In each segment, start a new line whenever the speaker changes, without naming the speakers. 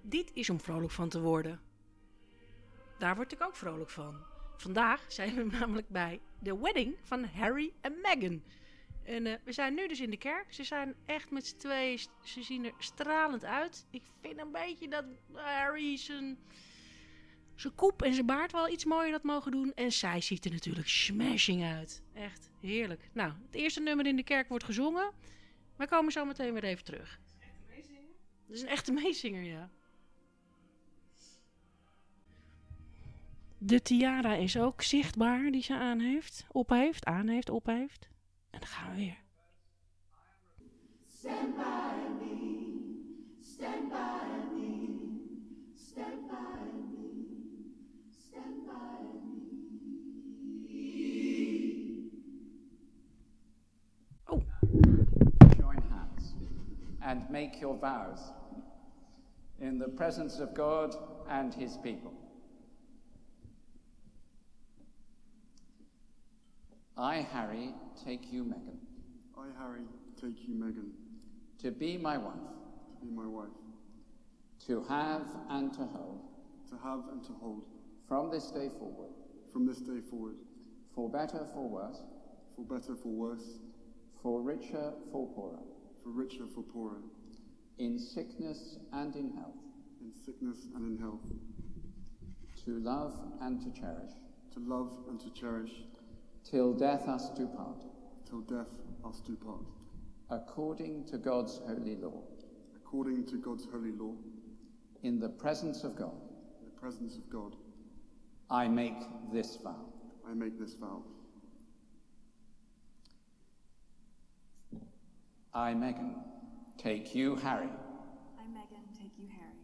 Dit is om vrolijk van te worden. Daar word ik ook vrolijk van. Vandaag zijn we namelijk bij de wedding van Harry en Meghan. En eh, we zijn nu dus in de kerk. Ze zijn echt met z'n tweeën, s- ze zien er stralend uit. Ik vind een beetje dat Harry zijn, zijn koep en zijn baard wel iets mooier had mogen doen. En zij ziet er natuurlijk smashing uit. Echt heerlijk. Nou, het eerste nummer in de kerk wordt gezongen. Wij komen zo meteen weer even terug. Dat is een echte meezinger, ja. De tiara is ook zichtbaar die ze aan heeft, op heeft, aan heeft, op heeft. En dan gaan we weer. Oh,
join hands and make your vows in the presence of God and his people. I, Harry, take you, Megan,
I, Harry, take you, Megan,
to be my wife,
to be my wife,
to have and to hold,
to have and to hold,
from this day forward,
from this day forward,
for better, for worse,
for better, for worse,
for richer, for poorer,
for richer, for poorer,
in sickness and in health,
in sickness and in health,
to love and to cherish,
to love and to cherish,
till death us do part,
till death us do part,
according to God's holy law.
according to God's holy law,
In the presence of God,
in the presence of God,
I make this vow.
I make this vow.
I, Megan, take you, Harry,
I, Megan, take you, Harry,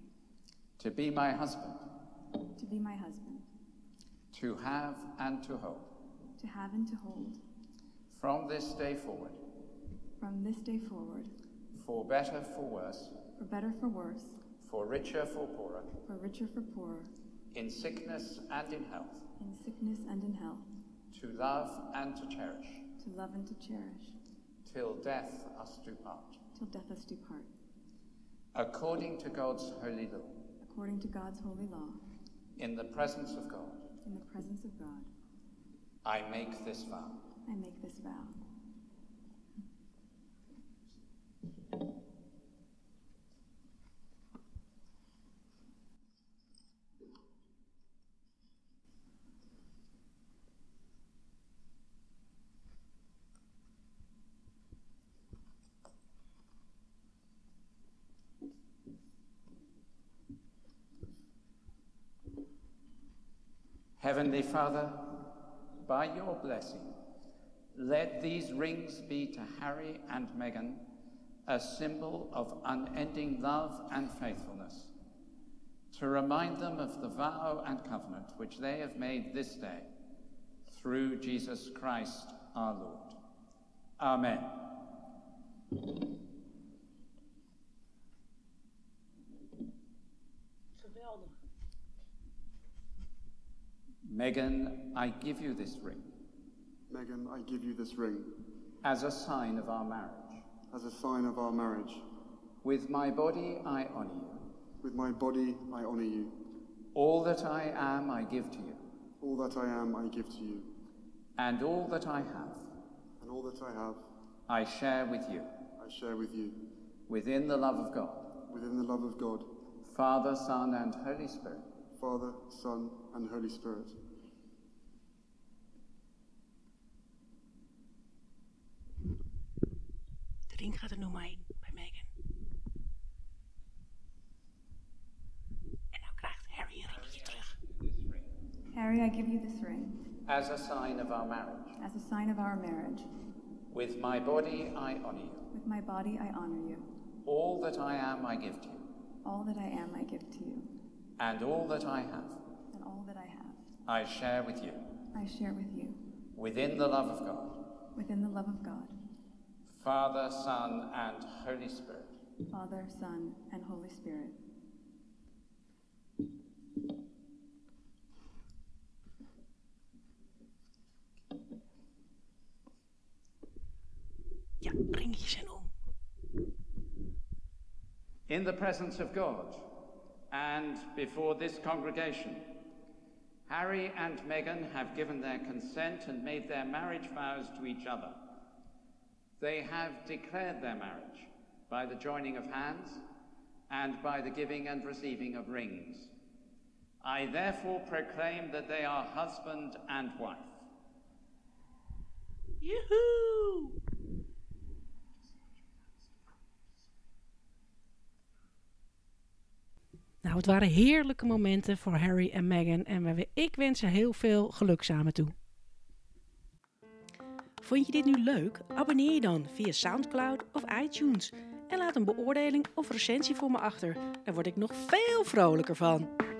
to be my husband,
to be my husband,
to have and to hold,
to have and to hold,
from this day forward,
from this day forward,
for better, for worse,
for better, for worse,
for richer, for poorer,
for richer, for poorer,
in sickness and in health,
in sickness and in health,
to love and to cherish,
to love and to cherish,
till death us do part,
till death us do part,
according to God's holy law,
according to God's holy law,
in the presence of God,
in the presence of God.
I make this vow.
I make this vow.
Heavenly Father, by your blessing, let these rings be to Harry and Meghan a symbol of unending love and faithfulness, to remind them of the vow and covenant which they have made this day through Jesus Christ our Lord. Amen.
Geweldig.
Meghan, I give you this ring
Megan, I give you this ring
as a sign of our marriage.
as a sign of our marriage.
With my body, I honor you.
With my body, I honor you.
All that I am, I give to you.
All that I am, I give to you.
And all that I have,
And all that I have,
I share with you,
I share with you.
within the love of God,
Within the love of God,
Father, Son, and Holy Spirit.
Father, Son, and Holy Spirit.
De ring gaat er nog maar in bij Megan. En nou krijgt Harry een ringje terug.
Harry, I give you this ring
As a sign of our marriage,
as a sign of our marriage.
with my body I honor you.
With my body, I honor you.
All that I am I give to you,
All that I am, I give to you.
and all that I have
And all that I have,
I share with you,
I share with you.
within the love of God,
Within the love of God,
Father, Son, and Holy Spirit.
Father, Son, and Holy Spirit.
Ja, ringetjes zijn om.
In the presence of God, and before this congregation. Harry and Meghan have given their consent and made their marriage vows to each other. They have declared their marriage by the joining of hands and by the giving and receiving of rings. I therefore proclaim that they are husband and wife.
Yoo-hoo! Nou, het waren heerlijke momenten voor Harry en Meghan en we- ik wens ze heel veel geluk samen toe. Vond je dit nu leuk? Abonneer je dan via SoundCloud of iTunes en laat een beoordeling of recensie voor me achter. Daar word ik nog veel vrolijker van.